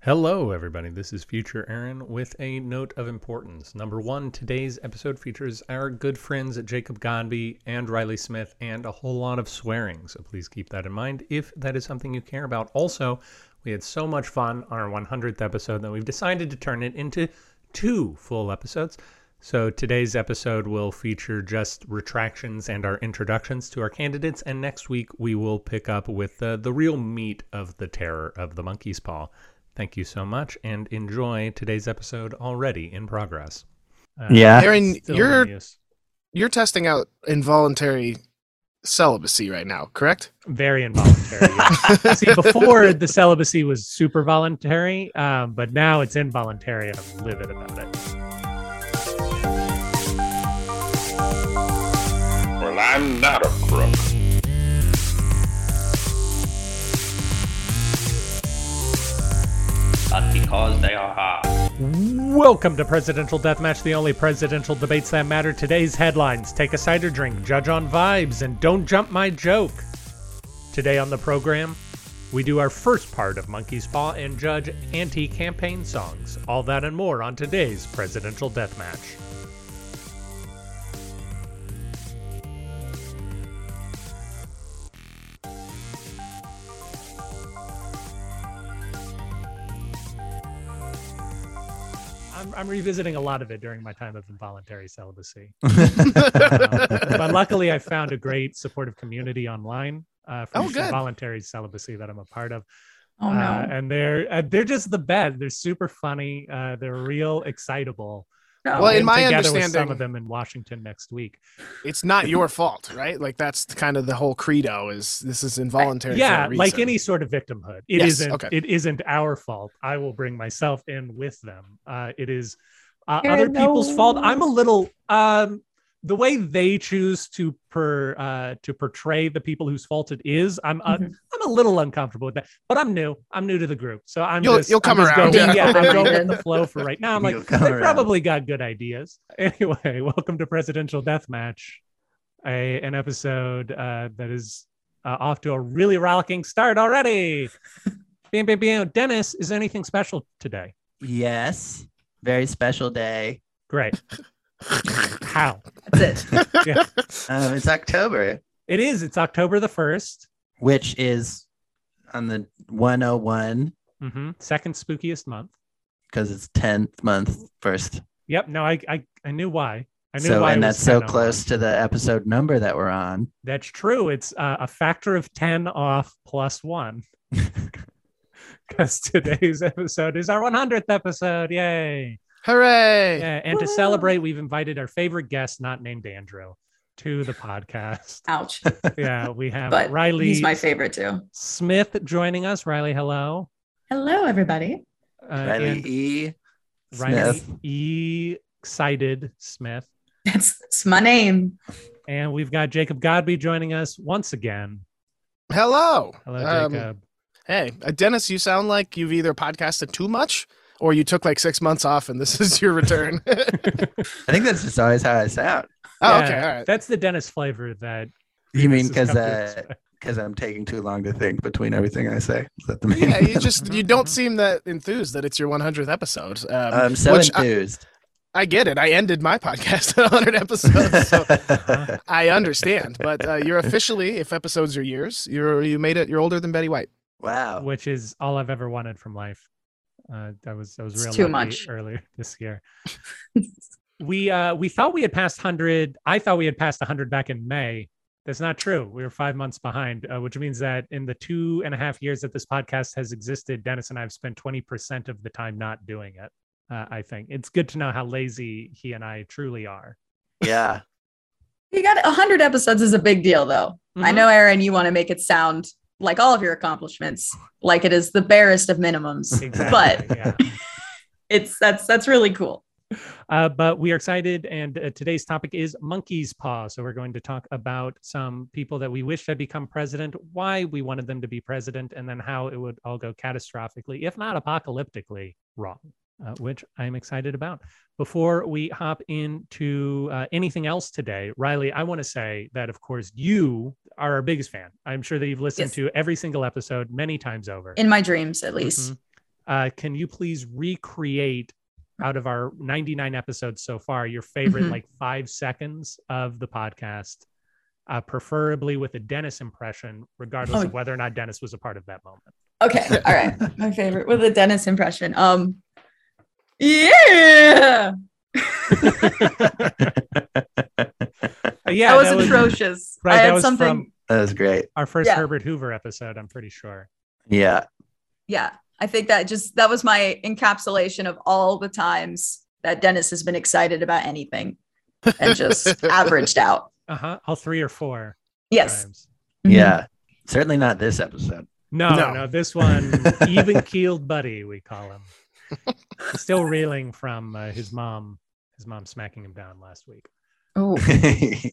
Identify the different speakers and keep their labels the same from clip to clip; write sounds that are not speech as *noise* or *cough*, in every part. Speaker 1: Hello, everybody. This is Future Aaron with a note of importance. Number one, today's episode features our good friends Jacob Godby and Riley Smith and a whole lot of swearing, so please keep that in mind if that is something you care about. Also, we had so much fun on our 100th episode that we've decided to turn it into two full episodes. So today's episode will feature just retractions and our introductions to our candidates, and next week we will pick up with uh, the real meat of the terror of the monkey's paw. Thank you so much and enjoy today's episode already in progress. Uh,
Speaker 2: Yeah.
Speaker 3: Aaron,
Speaker 1: still
Speaker 3: you're-
Speaker 1: hideous.
Speaker 3: you're testing out involuntary celibacy right now, correct?
Speaker 4: very involuntary. yeah. See, before the celibacy was super voluntary, um, but now it's involuntary, and I'm livid about it.
Speaker 5: Well, I'm not a crook.
Speaker 6: but because they are hard.
Speaker 4: Welcome to Presidential Deathmatch, the only presidential debates that matter. Today's headlines: Take a cider drink, judge on vibes, and don't jump my joke. Today on the program, we do our first part of Monkey's Paw and judge anti-campaign songs. All that and more on today's Presidential Deathmatch. I'm, I'm revisiting a lot of it during my time of involuntary
Speaker 3: *laughs*
Speaker 4: celibacy. Um, but luckily, I found a great supportive community online uh, for
Speaker 3: Oh, good.
Speaker 4: voluntary celibacy that I'm a part of.
Speaker 7: Oh no.
Speaker 4: Uh, and they're uh, they're just the best. They're super funny. Uh, they're real excitable.
Speaker 7: No.
Speaker 4: Uh,
Speaker 3: Well, in
Speaker 4: I'm
Speaker 3: my
Speaker 4: together with some
Speaker 3: understanding-
Speaker 4: of them in Washington next week.
Speaker 3: It's not your fault, right? Like that's the- kind of the whole credo is this is involuntary. for a
Speaker 4: yeah, like
Speaker 3: reason. *laughs*
Speaker 4: any sort of victimhood. It
Speaker 3: Yes,
Speaker 4: not
Speaker 3: okay.
Speaker 4: It isn't our fault. I will bring myself in with them. Uh, it is uh,
Speaker 7: Karen,
Speaker 4: other people's fault.
Speaker 7: no.
Speaker 4: I'm a little um, the way they choose to per uh, to portray the people whose fault it is. I'm uh,
Speaker 7: Mhm.
Speaker 4: I'm a little uncomfortable with that, but I'm new. I'm new to the group, so I'm
Speaker 3: You'll-
Speaker 4: just,
Speaker 3: you'll come
Speaker 4: I'm just
Speaker 3: around.
Speaker 4: Going,
Speaker 7: Yeah.
Speaker 4: yeah,
Speaker 7: *laughs*
Speaker 4: I'm going with the flow for right now. I'm like
Speaker 2: You'll *laughs*
Speaker 4: they
Speaker 2: come around.
Speaker 4: probably got good ideas. *laughs* Anyway, welcome to Presidential Deathmatch, a an episode uh, that is uh, off to a really rollicking
Speaker 2: *laughs*
Speaker 4: start already. bam, bam, bam. Dennis, is anything special today?
Speaker 2: Yes. Very special day.
Speaker 4: Great. How?
Speaker 2: *laughs*
Speaker 7: That's it.
Speaker 3: Oh,
Speaker 2: Um, it's October,
Speaker 4: It is. It's October the 1st.
Speaker 2: which is on the 101
Speaker 4: Mm-hmm. Second spookiest month.
Speaker 2: because it's 10th month first.
Speaker 4: Yep. No, I I, I knew why. I knew
Speaker 2: So,
Speaker 4: why. it
Speaker 2: and
Speaker 4: was
Speaker 2: that's so
Speaker 4: 10 on
Speaker 2: close to the episode number that we're on.
Speaker 4: That's true. It's uh, a factor of 10 off plus
Speaker 2: *laughs*
Speaker 4: one. Because today's episode is our 100th episode. Yay.
Speaker 3: Hooray!
Speaker 4: Yeah. And to
Speaker 7: Woo.
Speaker 4: celebrate, we've invited our favorite guest, not named Andrew, to
Speaker 2: *laughs*
Speaker 4: the podcast. *laughs*
Speaker 7: Ouch.
Speaker 4: Yeah. We have
Speaker 7: But
Speaker 4: Uh, Riley
Speaker 7: he's my favorite too.
Speaker 4: Smith joining us. Riley, hello.
Speaker 7: Hello, everybody.
Speaker 4: Uh,
Speaker 2: Riley
Speaker 4: and
Speaker 2: E.
Speaker 4: Riley
Speaker 2: Smith.
Speaker 4: E. Excited Smith.
Speaker 7: That's, that's my name.
Speaker 4: And we've got Jacob Godby joining us once again.
Speaker 3: Hello.
Speaker 4: Hello,
Speaker 3: Um,
Speaker 4: Jacob.
Speaker 3: hey, uh, Dennis, you sound like you've either podcasted too much or you took like six months off and this *laughs* is your return. oh,
Speaker 2: I think that's just always how I sound.
Speaker 3: okay, all right.
Speaker 4: That's the Dennis flavor that
Speaker 2: You mean
Speaker 4: this has
Speaker 2: because
Speaker 4: come to
Speaker 2: uh,
Speaker 4: expect.
Speaker 2: because I'm taking too long to think between everything I say? Is that the main?
Speaker 3: Yeah, you
Speaker 4: *laughs*
Speaker 3: just you don't seem that enthused that it's your 100th episode. Um,
Speaker 2: *laughs*
Speaker 8: Uh,
Speaker 2: I'm so
Speaker 3: which I, *laughs*
Speaker 2: enthused.
Speaker 3: I get it. I ended my podcast *laughs* at 100 episodes, so I understand. But uh, you're officially, if episodes are years, you're you made it. You're older than Betty White.
Speaker 2: *laughs*
Speaker 7: Oh.
Speaker 2: wow.
Speaker 4: which is all I've ever wanted from life. Uh, that was that was
Speaker 7: It's
Speaker 4: real
Speaker 7: too
Speaker 4: lucky
Speaker 7: much.
Speaker 4: earlier *laughs* this year.
Speaker 7: *laughs*
Speaker 4: we uh, we thought we had passed hundred. I thought we had passed hundred back in May. That's not true. We were five months behind, uh, which means that in the two and a half years that this podcast has existed, Dennis and I have spent twenty percent of the time not doing it. Uh, I think it's good to know how lazy he and I truly are.
Speaker 2: Yeah. *laughs*
Speaker 7: You got 100 episodes is a big deal, though. I
Speaker 4: Mhm.
Speaker 7: know, Aaron, you want to make it sound like all of your accomplishments, like it is the barest of minimums.
Speaker 4: Exactly. yeah.
Speaker 7: It's that's that's really cool.
Speaker 4: Uh, but we are excited, and uh, today's topic is monkey's paw. So we're going to talk about some people that we wish had become president, why we wanted them to be president, and then how it would all go catastrophically, if not apocalyptically, wrong. Uh, which I'm excited about. Before we hop into uh, anything else today, Riley, I want to say that, of course, you are our biggest fan. I'm sure that you've listened
Speaker 7: Yes.
Speaker 4: to every single episode many times over.
Speaker 7: In my dreams, at least.
Speaker 4: Mhm. uh, can you please recreate out of our 99 episodes so far your favorite
Speaker 7: Mhm.
Speaker 4: like five seconds of the podcast, uh, preferably with a Dennis impression, regardless
Speaker 7: Oh.
Speaker 4: of whether or not Dennis was a part of that moment.
Speaker 7: Okay.
Speaker 4: *laughs*
Speaker 7: All right. My favorite with a Dennis impression. Um, yeah,
Speaker 4: Uh, yeah,
Speaker 7: that was atrocious.
Speaker 4: right,
Speaker 7: I
Speaker 4: that
Speaker 7: had
Speaker 4: was
Speaker 7: something.
Speaker 4: from-
Speaker 2: That was great.
Speaker 4: our first
Speaker 7: Yeah.
Speaker 4: Herbert Hoover episode. I'm pretty sure.
Speaker 2: Yeah.
Speaker 7: Yeah, I think that just that was my encapsulation of all the times that Dennis has been excited about anything, and just averaged out.
Speaker 4: Uh huh. All three or four.
Speaker 7: Yes.
Speaker 4: times.
Speaker 7: Mhm.
Speaker 2: Yeah. Certainly not this episode. *laughs*
Speaker 4: No, no,
Speaker 3: No.
Speaker 4: this *laughs* one, even keeled buddy, we call him. Still reeling from uh, his mom, his mom smacking him down last week,
Speaker 7: Ooh.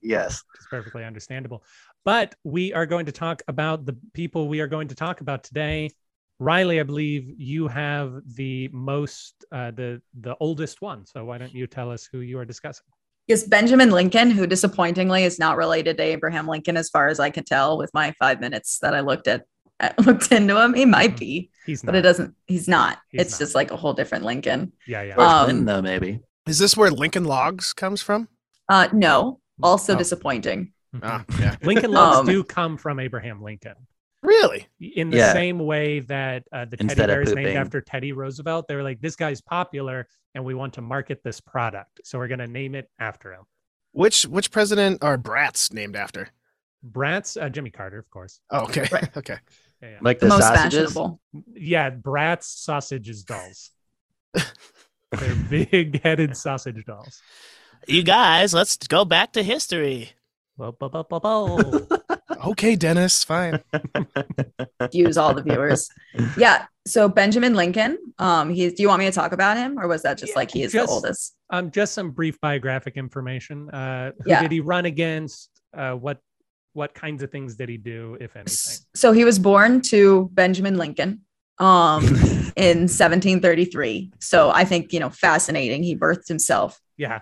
Speaker 2: yes.
Speaker 4: which is perfectly understandable. But we are going to talk about the people we are going to talk about today. Riley, I believe you have the most, uh, the the oldest one. So why don't you tell us who you are discussing?
Speaker 7: Yes, Benjamin Lincoln, who disappointingly is not related to Abraham Lincoln, as far as I can tell, with my five minutes that I looked at, *laughs* I looked into him. He might be,
Speaker 4: Mm-hmm. He's not.
Speaker 7: but it doesn't. He's not.
Speaker 4: He's
Speaker 7: it's
Speaker 4: not.
Speaker 7: just like a whole different Lincoln.
Speaker 4: yeah, yeah.
Speaker 2: Or
Speaker 7: Um,
Speaker 2: Clinton, though, maybe.
Speaker 3: Is this where Lincoln Logs comes from?
Speaker 7: Uh, no, also
Speaker 3: Oh.
Speaker 7: disappointing.
Speaker 4: Mhm.
Speaker 3: Ah, yeah.
Speaker 4: Lincoln
Speaker 2: *laughs*
Speaker 4: logs
Speaker 7: Um,
Speaker 4: do come from Abraham Lincoln.
Speaker 3: Really?
Speaker 4: in the
Speaker 2: Yeah.
Speaker 4: same way that uh, the teddy
Speaker 2: Instead of
Speaker 4: bear is named
Speaker 2: pooping.
Speaker 4: after Teddy Roosevelt. They were like, this guy's popular and we want to market this product. So we're going to name it after him.
Speaker 3: Which which president are brats named after?
Speaker 4: Bratz, uh, Jimmy Carter, of course.
Speaker 3: Oh, okay. *laughs* okay.
Speaker 4: Yeah, yeah.
Speaker 2: Like the
Speaker 7: Most
Speaker 2: sausages.
Speaker 7: fashionable.
Speaker 4: yeah Bratz sausages dolls. They're big headed sausage dolls.
Speaker 3: You guys, let's go back to history.
Speaker 4: Bo- bo- bo- bo- bo.
Speaker 3: Okay, Dennis, fine. *laughs*
Speaker 7: Use all the viewers. yeah. So Benjamin Lincoln. Um, he's. Do you want me to talk about him, or was that just
Speaker 4: Yeah,
Speaker 7: like he is
Speaker 4: just-
Speaker 7: the oldest?
Speaker 4: *laughs* um, just some brief biographic information. Uh, who
Speaker 7: Yeah.
Speaker 4: did he run against? Uh, what what kinds of things did he do, if anything?
Speaker 7: So he was born to Benjamin Lincoln.
Speaker 4: *laughs*
Speaker 7: Um, in 1733. So I think, you know, fascinating. He birthed himself.
Speaker 4: Yeah,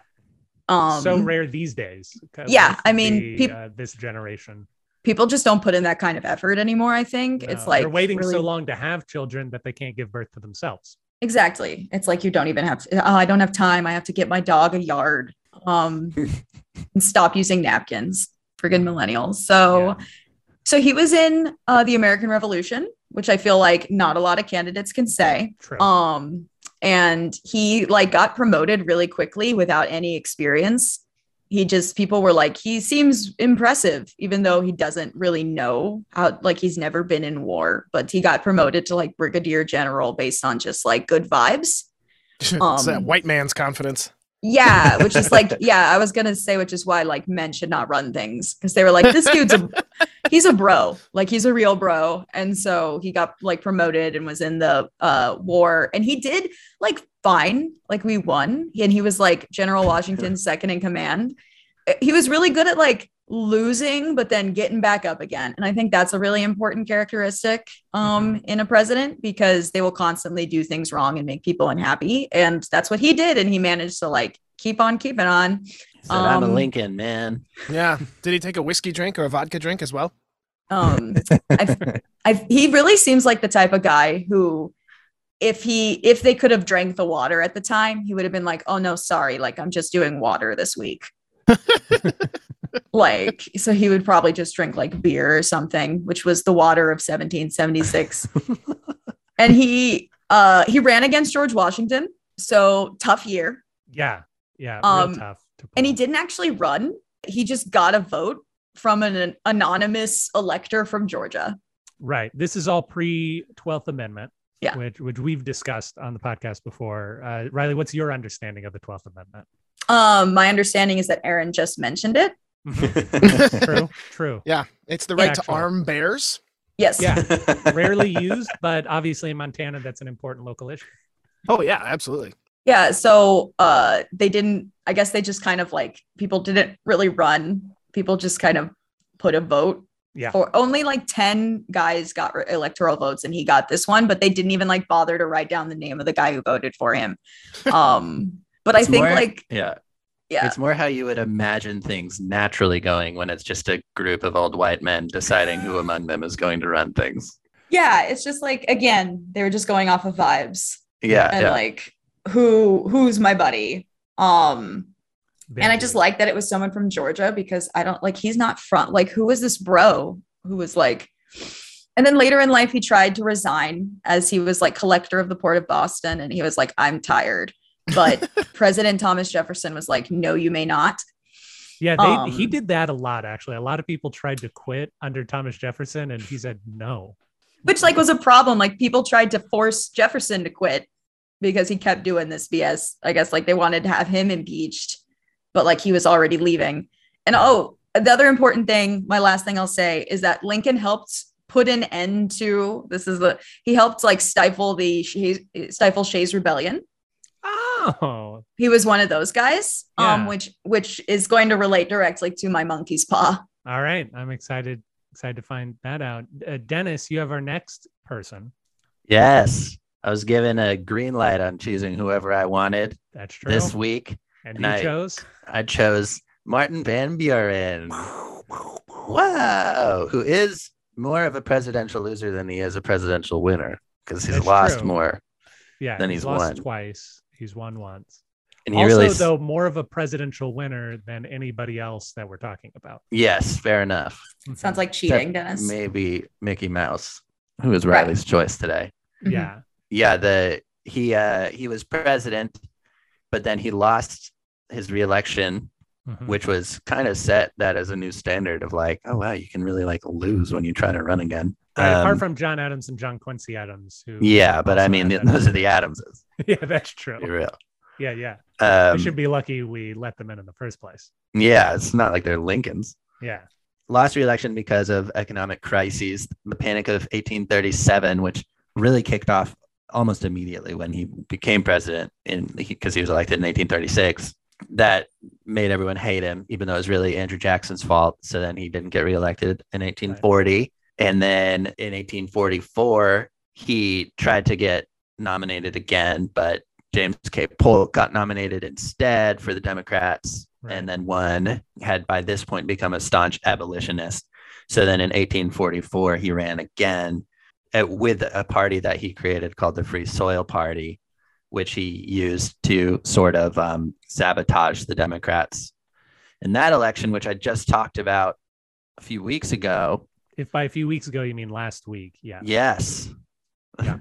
Speaker 7: Um,
Speaker 4: so rare these days. compared
Speaker 7: yeah,
Speaker 4: to
Speaker 7: I mean,
Speaker 4: the,
Speaker 7: peop-
Speaker 4: uh, this generation.
Speaker 7: people just don't put in that kind of effort anymore. I think it's
Speaker 4: No,
Speaker 7: like
Speaker 4: they're waiting
Speaker 7: really-
Speaker 4: so long to have children that they can't give birth to themselves.
Speaker 7: Exactly. It's like you don't even have to, oh, I don't have time. I have to get my dog a yard. Um, and stop using napkins. Friggin' millennials. So, so he was in uh, the American Revolution, which I feel like not a lot of candidates can say.
Speaker 4: True.
Speaker 7: um and he like got promoted really quickly without any experience he just people were like he seems impressive even though he doesn't really know how like he's never been in war but he got promoted to like brigadier general based on just like good vibes
Speaker 3: it's that
Speaker 7: Um,
Speaker 3: white man's confidence.
Speaker 7: yeah which is like yeah i was gonna say which is why like men should not run things because they were like this dude's a he's a bro like he's a real bro and so he got like promoted and was in the uh war and he did like fine like we won and he was like general washington's second in command Uh, he was really good at like losing but then getting back up again and i think that's a really important characteristic um in a president because they will constantly do things wrong and make people unhappy and that's what he did and he managed to like keep on keeping on
Speaker 2: *laughs* Said, I'm a
Speaker 7: Um,
Speaker 2: Lincoln, man.
Speaker 3: Yeah. Did he take a whiskey drink or a vodka drink as *laughs* well?
Speaker 7: um I, I he really seems like the type of guy who if he if they could have drank the water at the time he would have been like oh no sorry like i'm just doing water this week like so he would probably just drink like beer or something which was the water of 1776 and he uh he ran against george washington so tough year
Speaker 4: yeah, yeah,
Speaker 7: um,
Speaker 4: real tough. To
Speaker 7: and he
Speaker 4: pull.
Speaker 7: didn't actually run he just got a vote from an, an anonymous elector from georgia
Speaker 4: Right. This is all pre Twelfth Amendment.
Speaker 7: Yeah.
Speaker 4: Which which we've discussed on the podcast before. Uh, Riley, what's your understanding of the Twelfth Amendment?
Speaker 8: *laughs*
Speaker 7: Um, my understanding is that Aaron just mentioned it.
Speaker 4: True. True.
Speaker 3: It's the right to
Speaker 4: Actually.
Speaker 3: arm bears.
Speaker 7: Yes.
Speaker 4: Yeah. Rarely used, but obviously in Montana, that's an important local issue.
Speaker 3: Oh yeah, absolutely.
Speaker 7: Yeah, So uh they didn't I guess they just kind of like people didn't really run. People just kind of put a vote.
Speaker 4: Yeah.
Speaker 7: For only like 10 guys got re- electoral votes and he got this one, but they didn't even like bother to write down the name of the guy who voted for
Speaker 4: *laughs*
Speaker 7: him. Um but I
Speaker 2: It's
Speaker 7: think
Speaker 2: more-
Speaker 7: like
Speaker 2: yeah.
Speaker 7: yeah.
Speaker 2: It's more how you would imagine things naturally going when it's just a group of old white men deciding who among them is going to run things.
Speaker 7: yeah, it's just like again, they were just going off of vibes
Speaker 2: Yeah,
Speaker 7: and
Speaker 2: yeah.
Speaker 7: like who who's my buddy. Um and I
Speaker 1: Vampire.
Speaker 7: just like that it was someone from Georgia because I don't like he's not from like who was this bro who was like and then later in life he tried to resign as he was like collector of the port of Boston and he was like I'm tired but President Thomas Jefferson was like no you may not
Speaker 4: Yeah, they, he
Speaker 7: Um,
Speaker 4: did that a lot, actually. A lot of people tried to quit under Thomas Jefferson, and he said no.
Speaker 7: which like was a problem like people tried to force Jefferson to quit because he kept doing this BS I guess like they wanted to have him impeached but like he was already leaving and oh the other important thing my last thing I'll say is that Lincoln helped put an end to this is the he helped like stifle the Shays, stifle Shays rebellion
Speaker 4: Oh,
Speaker 7: he was one of those guys um
Speaker 4: Yeah.
Speaker 7: which which is going to relate directly to my monkey's paw
Speaker 4: all right. I'm excited. Excited to find that out. Uh, Dennis, you have our next person.
Speaker 8: Yes. I was given a green light on choosing whoever I wanted
Speaker 4: That's true.
Speaker 8: this week.
Speaker 4: and
Speaker 8: and
Speaker 4: you
Speaker 8: I-
Speaker 4: chose.
Speaker 8: I chose Martin Van Buren. Wow. Who is more of a presidential loser than he is a presidential winner because he's
Speaker 4: That's
Speaker 8: lost
Speaker 4: true.
Speaker 8: more.
Speaker 4: Yeah,
Speaker 8: then
Speaker 4: he's,
Speaker 8: he's
Speaker 4: lost
Speaker 8: won.
Speaker 4: twice. He's won once.
Speaker 8: And he
Speaker 4: Also,
Speaker 8: really, s-
Speaker 4: though, more of a presidential winner than anybody else that we're talking about.
Speaker 8: yes, fair enough.
Speaker 7: sounds like
Speaker 8: Except
Speaker 7: cheating Dennis
Speaker 8: Maybe Mickey Mouse, who is
Speaker 7: Right.
Speaker 8: Riley's choice today.
Speaker 7: Mhm.
Speaker 4: Yeah.
Speaker 8: yeah the he uh he was president but then he lost his reelection
Speaker 4: Mhm.
Speaker 8: which was kind of set that as a new standard of like oh wow you can really like lose when you try to run again
Speaker 4: Right, apart
Speaker 8: Um,
Speaker 4: from John Adams and John Quincy Adams, who
Speaker 8: yeah but i
Speaker 4: also
Speaker 8: mean
Speaker 4: had that-
Speaker 8: *laughs* those are the adamses
Speaker 4: *laughs* yeah, that's
Speaker 8: to be
Speaker 4: true.
Speaker 8: real
Speaker 4: Yeah, yeah.
Speaker 8: um
Speaker 4: we should be lucky we let them in in the first place.
Speaker 8: yeah it's not like they're lincolns
Speaker 4: Yeah.
Speaker 8: lost reelection because of economic crises the panic of 1837 which really kicked off almost immediately when he became president in because he was elected in 1836 that made everyone hate him even though it was really andrew jackson's fault so then he didn't get reelected in 1840 and then in 1844 he tried to get nominated again but james k polk got nominated instead for the democrats
Speaker 4: Right.
Speaker 8: and then one had by this point become a staunch abolitionist so then in 1844 he ran again at, with a party that he created called the Free Soil Party, which he used to sort of um, sabotage the Democrats. In that election, which I just talked about a few weeks ago,
Speaker 4: If by a few weeks ago you mean last week, yeah.
Speaker 8: yes.
Speaker 4: Yeah.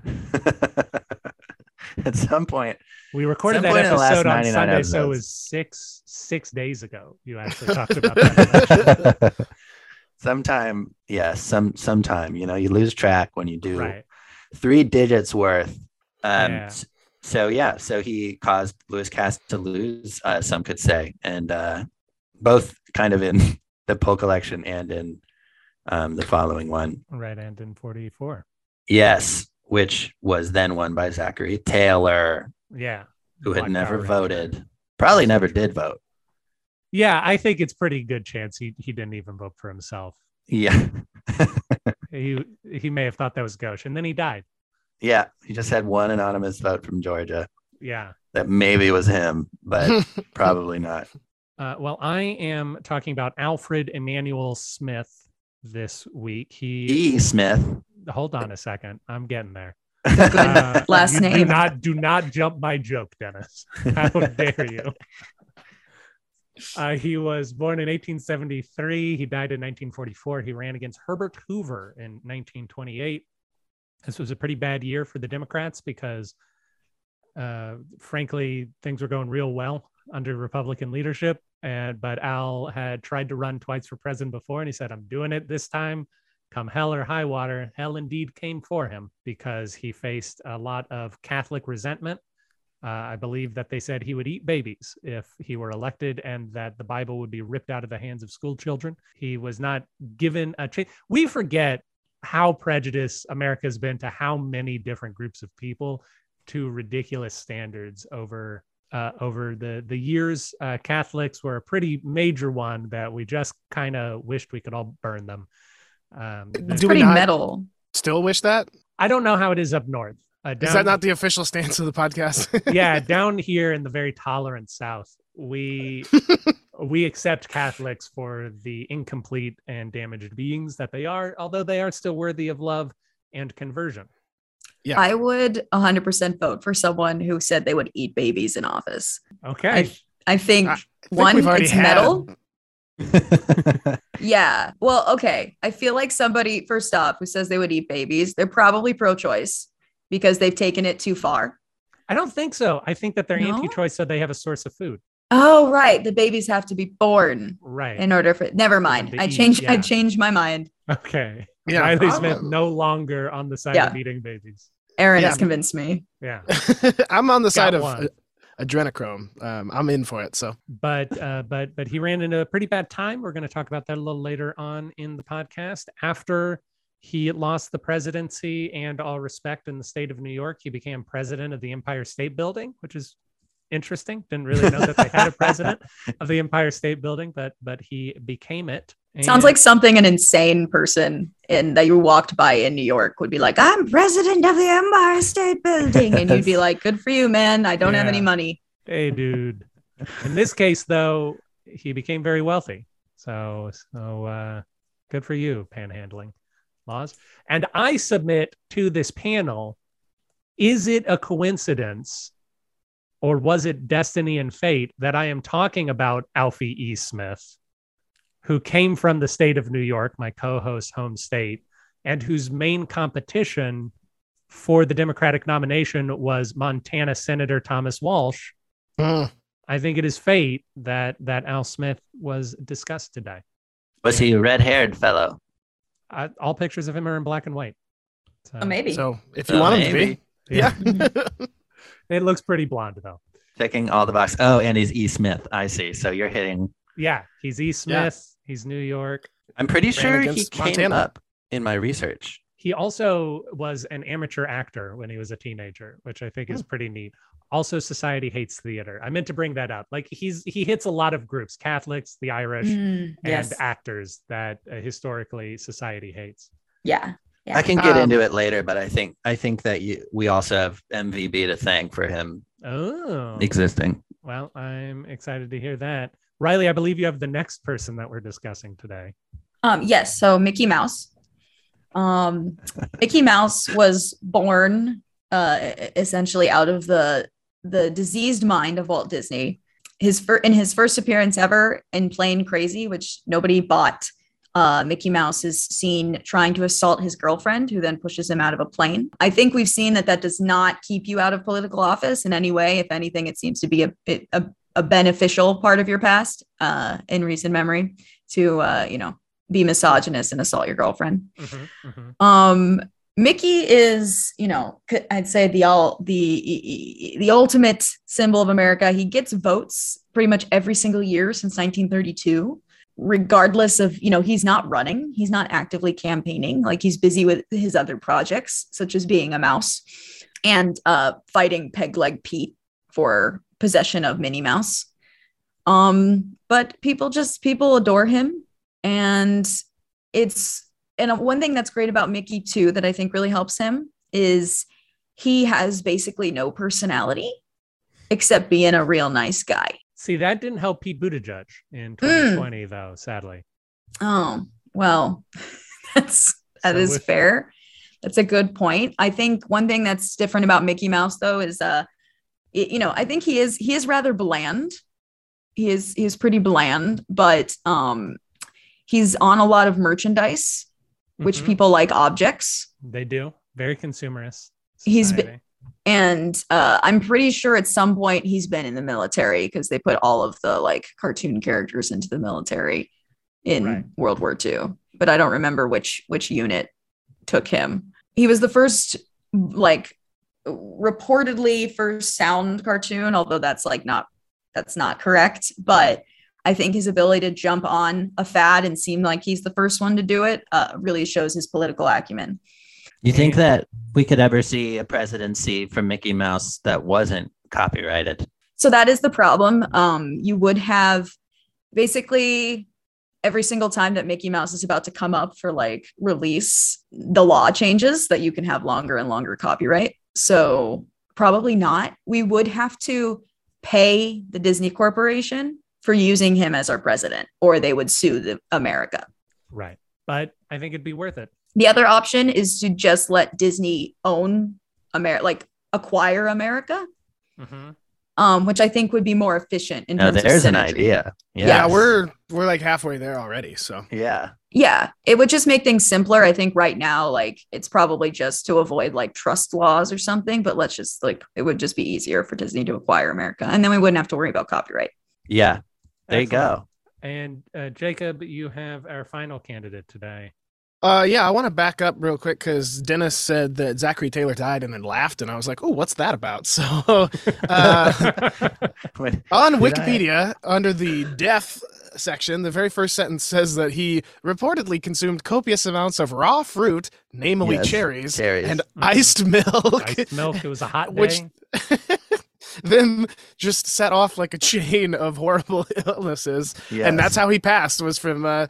Speaker 8: *laughs* At
Speaker 4: *laughs*
Speaker 8: some point,
Speaker 4: We recorded
Speaker 8: Some
Speaker 4: that
Speaker 8: point in the last
Speaker 4: episode on
Speaker 8: 99
Speaker 4: Sunday, so it
Speaker 8: episodes.
Speaker 4: was six six days ago. You
Speaker 8: *laughs*
Speaker 4: actually talked about that.
Speaker 8: sometime, yeah, some sometime, you know, you lose track when you do
Speaker 4: right.
Speaker 8: three digits worth. Um,
Speaker 4: Yeah.
Speaker 8: s- So yeah, so he caused Lewis Cass to lose, uh, some could say, and uh, both kind of in *laughs* the poll collection and in um, the following one.
Speaker 4: Right and in 44.
Speaker 8: Yes, which was then won by Zachary Taylor,
Speaker 4: Yeah.
Speaker 8: who had
Speaker 4: Black
Speaker 8: never
Speaker 4: Power Ranger.
Speaker 8: voted, probably never did vote.
Speaker 4: Yeah, I think it's pretty good chance he, he didn't even vote for himself.
Speaker 8: Yeah,
Speaker 4: He he may have thought that was gauche, and then he died.
Speaker 8: yeah, he just had one anonymous vote from Georgia
Speaker 4: Yeah.
Speaker 8: that maybe was him,
Speaker 3: *laughs*
Speaker 8: but probably not.
Speaker 4: Uh, well, I am talking about Alfred Emmanuel Smith this week. He
Speaker 8: E. Smith.
Speaker 4: hold on a second. I'm getting there.
Speaker 7: *laughs* Good.
Speaker 4: Uh,
Speaker 7: Last
Speaker 4: you Do
Speaker 7: name.
Speaker 4: not do not jump my joke, Dennis. *laughs* How
Speaker 8: *laughs*
Speaker 4: dare you? Uh, he was born in 1873. He died in 1944. He ran against Herbert Hoover in 1928. This was a pretty bad year for the Democrats because, uh, frankly, things were going real well under Republican leadership. And but Al had tried to run twice for president before, and he said, "I'm doing it this time." come hell or high water, hell indeed came for him because he faced a lot of Catholic resentment. Uh, I believe that they said he would eat babies if he were elected and that the Bible would be ripped out of the hands of school children. He was not given a chance. We forget how prejudiced America's been to how many different groups of people to ridiculous standards over uh, over the the years. Uh, Catholics were a pretty major one that we just kind of wished we could all burn them. Um,
Speaker 3: Do we
Speaker 7: pretty
Speaker 3: not-
Speaker 7: metal
Speaker 3: Still wish that?
Speaker 4: I don't know how it is up north. Uh,
Speaker 3: Is
Speaker 4: down-
Speaker 3: that not the official stance of the podcast? *laughs*
Speaker 4: yeah, down here in the very tolerant South,
Speaker 3: *laughs*
Speaker 4: we we accept Catholics for the incomplete and damaged beings that they are, although they are still worthy of love. and conversion.
Speaker 3: Yeah.
Speaker 7: I would 100% vote for someone who said they would eat babies in office.
Speaker 4: Okay.
Speaker 7: I think,
Speaker 3: I think
Speaker 7: one,
Speaker 3: we've already
Speaker 7: it's
Speaker 3: had-
Speaker 7: metal. Yeah. Well, okay. I feel like somebody, first off, who says they would eat babies, they're probably pro choice because they've taken it too far.
Speaker 4: I don't think so. I think that they're
Speaker 7: No?
Speaker 4: anti-choice, so they have a source of food.
Speaker 7: Oh, right. The babies have to be born
Speaker 4: Right.
Speaker 7: in order for, never mind.
Speaker 4: to
Speaker 7: I
Speaker 4: eat,
Speaker 7: changed, I
Speaker 4: yeah.
Speaker 7: changed my mind.
Speaker 4: okay.
Speaker 3: Yeah.
Speaker 4: Riley
Speaker 3: I'm-
Speaker 4: Smith no longer on the side of eating babies.
Speaker 7: Aaron
Speaker 3: Yeah.
Speaker 7: has convinced me.
Speaker 4: Yeah.
Speaker 3: *laughs* I'm on the side of
Speaker 4: one.
Speaker 3: uh, adrenochrome. Um, I'm in for it. So
Speaker 4: but uh, but but he ran into a pretty bad time. We're going to talk about that a little later on in the podcast. After he lost the presidency and all respect in the state of New York, he became president of the Empire State Building, which is interesting. Didn't really know that they had a president of
Speaker 7: *laughs*
Speaker 4: the Empire State Building, but but he became it.
Speaker 7: Sounds
Speaker 4: And-
Speaker 7: like something an insane person in that you walked by in New York would be like, I'm president of the Empire State Building. And you'd *laughs* be like, good for you, man. I don't have
Speaker 4: Yeah.
Speaker 7: any money.
Speaker 4: hey, dude. In this case, though, he became very wealthy. So so uh, good for you, panhandling laws. And I submit to this panel: Is it a coincidence, or was it destiny and fate that I am talking about Alfie E. Smith, who came from the state of New York, my co-host home state, and whose main competition for the Democratic nomination was Montana Senator Thomas Walsh,
Speaker 3: mm,
Speaker 4: I think it is fate that that Al Smith was discussed today.
Speaker 8: Was he a red haired fellow?
Speaker 4: I, all pictures of him are in black and white. So,
Speaker 7: Oh, maybe.
Speaker 3: so if you
Speaker 8: Uh,
Speaker 3: want him to
Speaker 8: maybe.
Speaker 3: be, yeah.
Speaker 4: *laughs* it looks pretty blonde though.
Speaker 8: Checking all the box. Oh, and he's E. Smith. I see. So you're hitting.
Speaker 4: Yeah, he's E. Smith. He's New York.
Speaker 8: I'm pretty sure he
Speaker 3: against
Speaker 8: came
Speaker 3: Montana.
Speaker 8: up in my research.
Speaker 4: He also was an amateur actor when he was a teenager, which I think is pretty neat. Also, Society Hates Theater. I meant to bring that up. Like he's he hits a lot of groups: Catholics, the Irish,
Speaker 7: Mm,
Speaker 4: and
Speaker 7: yes.
Speaker 4: actors that uh, historically society hates.
Speaker 7: yeah. Yeah.
Speaker 8: I can get
Speaker 3: Um,
Speaker 8: into it later, but I think I think that you, we also have MVB to thank for him
Speaker 4: Oh,
Speaker 8: existing.
Speaker 4: Well, I'm excited to hear that. Riley, I believe you have the next person that we're discussing today.
Speaker 7: Um, yes. So Mickey Mouse. Um, Mickey Mouse was born uh, essentially out of the the diseased mind of Walt Disney. His fir- in his first appearance ever in Plain Crazy, which nobody bought. Uh, Mickey Mouse is seen trying to assault his girlfriend, who then pushes him out of a plane. I think we've seen that that does not keep you out of political office in any way. If anything, it seems to be a a, a beneficial part of your past uh, in recent memory to uh, you know be misogynist and assault your girlfriend. Um, Mickey is, you know, c- I'd say the all the the ultimate symbol of America. He gets votes pretty much every single year since 1932, regardless of you know he's not running, he's not actively campaigning, like he's busy with his other projects, such as being a mouse and uh, fighting Peg Leg Pete for possession of Minnie Mouse. Um, but people just people adore him, and it's and one thing that's great about Mickey too that I think really helps him is he has basically no personality except being a real nice guy.
Speaker 4: See, that didn't help Pete Buttigieg in 2020, though, sadly.
Speaker 7: Oh, well, *laughs* that's that
Speaker 4: So
Speaker 7: is
Speaker 4: if-
Speaker 7: fair. That's a good point. I think one thing that's different about Mickey Mouse though is uh y- you know, I think he is he is rather bland. He is he is pretty bland, but um he's on a lot of merchandise which
Speaker 4: Mhm.
Speaker 7: people like objects.
Speaker 4: they do. Very consumerist.
Speaker 7: He's been-
Speaker 4: society.
Speaker 7: and uh, I'm pretty sure at some point he's been in the military because they put all of the like cartoon characters into the military in
Speaker 4: Right.
Speaker 7: World War II, but I don't remember which which unit took him. He was the first like reportedly first sound cartoon, although that's like not that's not correct, but I think his ability to jump on a fad and seem like he's the first one to do it uh, really shows his political acumen.
Speaker 8: You think that we could ever see a presidency from Mickey Mouse that wasn't copyrighted?
Speaker 7: so that is the problem um you would have basically every single time that mickey mouse is about to come up for like release the law changes that you can have longer and longer copyright so probably not we would have to pay the disney corporation for using him as our president or they would sue the america
Speaker 4: Right. But I think it'd be worth it.
Speaker 7: The other option is to just let Disney own America, like acquire America,
Speaker 4: Mhm.
Speaker 7: um, which I think would be more efficient in
Speaker 8: Now,
Speaker 7: terms
Speaker 8: there's an
Speaker 7: of synergy.
Speaker 8: idea. Yeah.
Speaker 3: yeah, we're we're like halfway there already. So
Speaker 8: Yeah.
Speaker 7: Yeah, it would just make things simpler. I think right now, like it's probably just to avoid like trust laws or something. But let's just like it would just be easier for Disney to acquire America, and then we wouldn't have to worry about copyright.
Speaker 8: Yeah. There you
Speaker 4: Excellent.
Speaker 8: go.
Speaker 4: And uh, Jacob, you have our final candidate today.
Speaker 3: Uh, yeah, I want to back up real quick because Dennis said that Zachary Taylor died and then laughed, and I was like, "Oh, what's that about?" *laughs* So,
Speaker 4: *laughs*
Speaker 3: uh,
Speaker 8: *laughs* Wait,
Speaker 3: on
Speaker 8: Did I-
Speaker 3: Wikipedia, under the death section, the very first sentence says that he reportedly consumed copious amounts of raw fruit, namely
Speaker 8: Yes,
Speaker 3: cherries,
Speaker 8: cherries.
Speaker 3: and
Speaker 4: Mhm.
Speaker 3: iced milk.
Speaker 4: Iced milk. It was a hot day.
Speaker 3: Which- *laughs* then just set off like a chain of horrible *laughs* illnesses, and
Speaker 8: Yes.
Speaker 3: that's how he passed was from uh,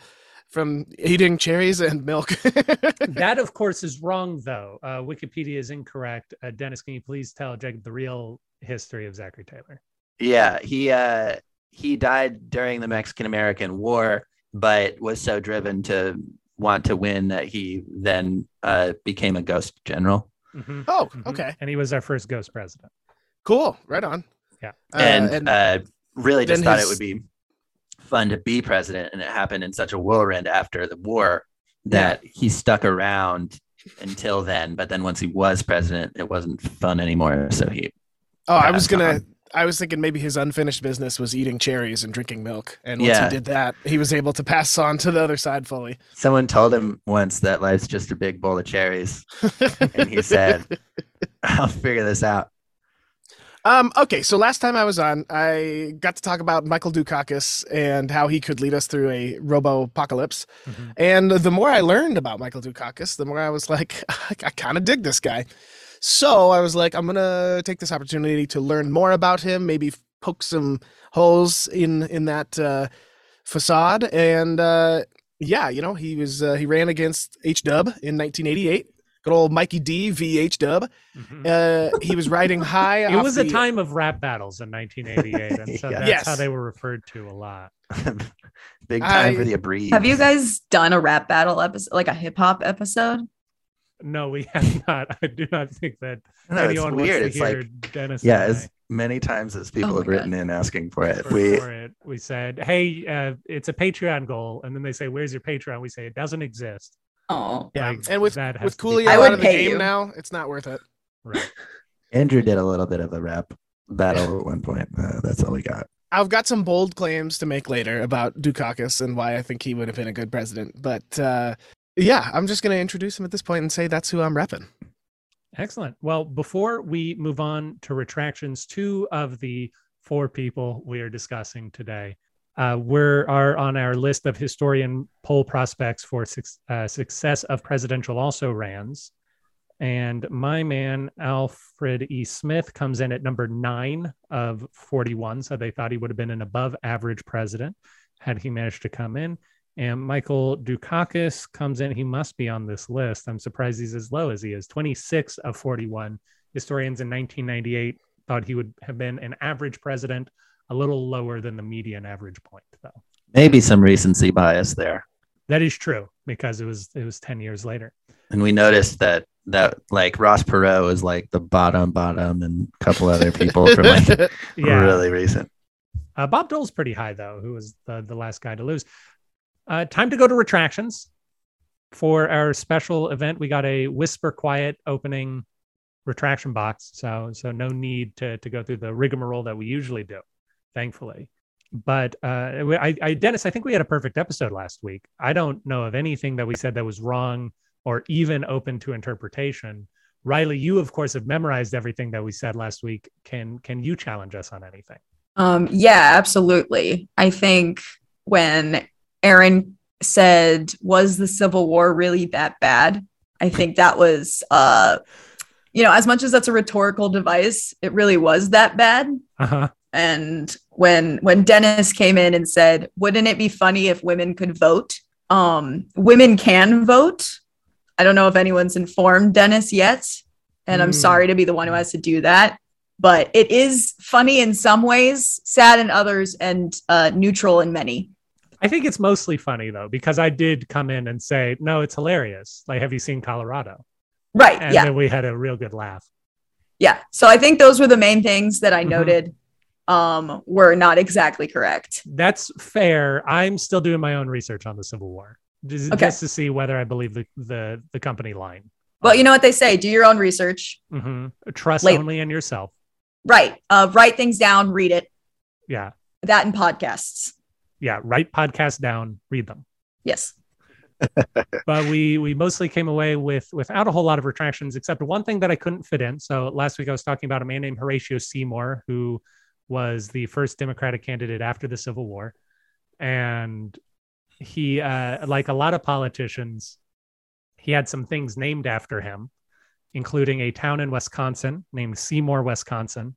Speaker 3: from eating cherries and milk. *laughs*
Speaker 4: that, of course, is wrong, though. Uh, Wikipedia is incorrect. Uh, Dennis, can you please tell Jacob the real history of Zachary Taylor?
Speaker 8: Yeah, he uh he died during the Mexican American War, but was so driven to want to win that he then uh became a ghost general.
Speaker 4: Mhm,
Speaker 3: oh,
Speaker 4: mhm.
Speaker 3: okay.
Speaker 4: And he was our first ghost president.
Speaker 3: Cool. Right on.
Speaker 4: Yeah.
Speaker 3: Uh,
Speaker 8: and, uh really just
Speaker 3: then
Speaker 8: thought it
Speaker 3: his-
Speaker 8: would be fun to be president and it happened in such a whirlwind after the war that he stuck around until then, but then once he was president, it wasn't fun anymore, so he
Speaker 3: oh, I
Speaker 8: passed
Speaker 3: was gonna.
Speaker 8: on.
Speaker 3: I was thinking maybe his unfinished business was eating cherries and drinking milk, and once
Speaker 8: Yeah.
Speaker 3: he did that, he was able to pass on to the other side fully.
Speaker 8: Someone told him once that life's just a big bowl of cherries, and
Speaker 3: *laughs*
Speaker 8: he said, "I'll figure this out." *laughs*
Speaker 3: Um, okay, so last time I was on, I got to talk about Michael Dukakis and how he could lead us through a robo apocalypse.
Speaker 4: Mhm.
Speaker 3: And the more I learned about Michael Dukakis, the more I was like, *laughs* I, kind of dig this guy. So I was like, I'm gonna take this opportunity to learn more about him, maybe poke some holes in in that uh, facade. And uh, yeah, you know, he was uh, he ran against H Dub in 1988. Good old Mikey D v H Dub.
Speaker 4: Mhm.
Speaker 3: Uh, he was riding high.
Speaker 4: *laughs* It
Speaker 3: off
Speaker 4: was a
Speaker 3: the- uh,
Speaker 4: time of rap battles in 1988, and so
Speaker 8: Yeah.
Speaker 4: that's how
Speaker 3: *laughs* Yes.
Speaker 4: they were referred to a lot.
Speaker 8: Big time
Speaker 3: I-
Speaker 8: for the abrees.
Speaker 7: Have you guys done a rap battle episode, like a hip hop episode?
Speaker 4: No, we have *laughs* not. I do not think that
Speaker 8: No, it's
Speaker 4: anyone
Speaker 8: weird.
Speaker 4: wants
Speaker 8: It's
Speaker 4: to hear
Speaker 8: like
Speaker 4: Dennis.
Speaker 8: yeah,
Speaker 4: and
Speaker 8: as many times as people
Speaker 7: Oh
Speaker 8: have
Speaker 7: my
Speaker 8: written in asking for
Speaker 4: I
Speaker 8: it.
Speaker 4: for-
Speaker 8: we
Speaker 4: for it, we said, "Hey, uh, it's a Patreon goal," and then they say, "Where's your Patreon?" We say, "It doesn't exist."
Speaker 7: Oh,
Speaker 3: Yeah,
Speaker 4: Like,
Speaker 3: and with-
Speaker 4: that has
Speaker 3: with
Speaker 4: to be
Speaker 3: Coolio
Speaker 7: I
Speaker 3: out
Speaker 7: would
Speaker 3: of the
Speaker 7: pay
Speaker 3: game
Speaker 7: you.
Speaker 3: now, it's not worth it.
Speaker 4: Right.
Speaker 8: Andrew did a little bit of a rap battle at one point. Uh, that's all we got.
Speaker 3: I've got some bold claims to make later about Dukakis and why I think he would have been a good president. But uh, yeah, I'm just going to introduce him at this point and say that's who I'm repping.
Speaker 8: *laughs*
Speaker 4: Excellent. Well, before we move on to retractions, two of the four people we are discussing today uh, were are on our list of historian poll prospects for suc- uh, success of presidential also rans. And my man Alfred E. Smith comes in at number nine of 41. So they thought he would have been an above average president had he managed to come in. And Michael Dukakis comes in. He must be on this list. I'm surprised he's as low as he is 26 of 41. Historians in 1998 thought he would have been an average president, a little lower than the median average point, though.
Speaker 8: Maybe some recency bias there,
Speaker 4: That is true because it was it was 10 years later.
Speaker 8: and we noticed that that like Ross Perot was like the bottom bottom, and a couple other people from like
Speaker 4: *laughs*
Speaker 3: *laughs*
Speaker 4: Yeah.
Speaker 8: really recent.
Speaker 4: Uh, Bob Dole's pretty high though, who was the, the last guy to lose. Uh, time to go to retractions for our special event. We got a whisper quiet opening retraction box, so so no need to to go through the rigmarole that we usually do, thankfully. But uh, we- I, I Dennis, I think we had a perfect episode last week. I don't know of anything that we said that was wrong or even open to interpretation. Riley, you of course have memorized everything that we said last week. Can can you challenge us on anything?
Speaker 7: Um, yeah, absolutely. I think when Aaron said, "Was the Civil War really that bad?" I think that was, uh, you know, as much as that's a rhetorical device, it really was that bad.
Speaker 4: Uh huh.
Speaker 7: And when when Dennis came in and said, "Wouldn't it be funny if women could vote?" Um, women can vote. I don't know if anyone's informed Dennis yet, and I'm
Speaker 4: Hmm.
Speaker 7: sorry to be the one who has to do that. But it is funny in some ways, sad in others, and uh, neutral in many.
Speaker 4: I think it's mostly funny though, because I did come in and say, no, it's hilarious. Like, have you seen Colorado?
Speaker 7: Right.
Speaker 4: And
Speaker 7: yeah.
Speaker 4: then we had a real good laugh.
Speaker 7: yeah. So I think those were the main things that I
Speaker 4: Mhm.
Speaker 7: noted um, were not exactly correct.
Speaker 4: That's fair. I'm still doing my own research on the Civil War just,
Speaker 7: Okay.
Speaker 4: just to see whether I believe the the, the company line.
Speaker 7: Well, you know what they say do your own research.
Speaker 4: hmm Trust
Speaker 7: Like-
Speaker 4: only in yourself.
Speaker 7: Right. Uh, write things down, read it.
Speaker 4: Yeah.
Speaker 7: That in podcasts.
Speaker 4: Yeah. Write podcasts down, read them.
Speaker 7: Yes.
Speaker 4: but we we mostly came away with without a whole lot of retractions except one thing that i couldn't fit in so last week i was talking about a man named horatio seymour who was the first democratic candidate after the civil war and he uh, like a lot of politicians he had some things named after him including a town in wisconsin named seymour wisconsin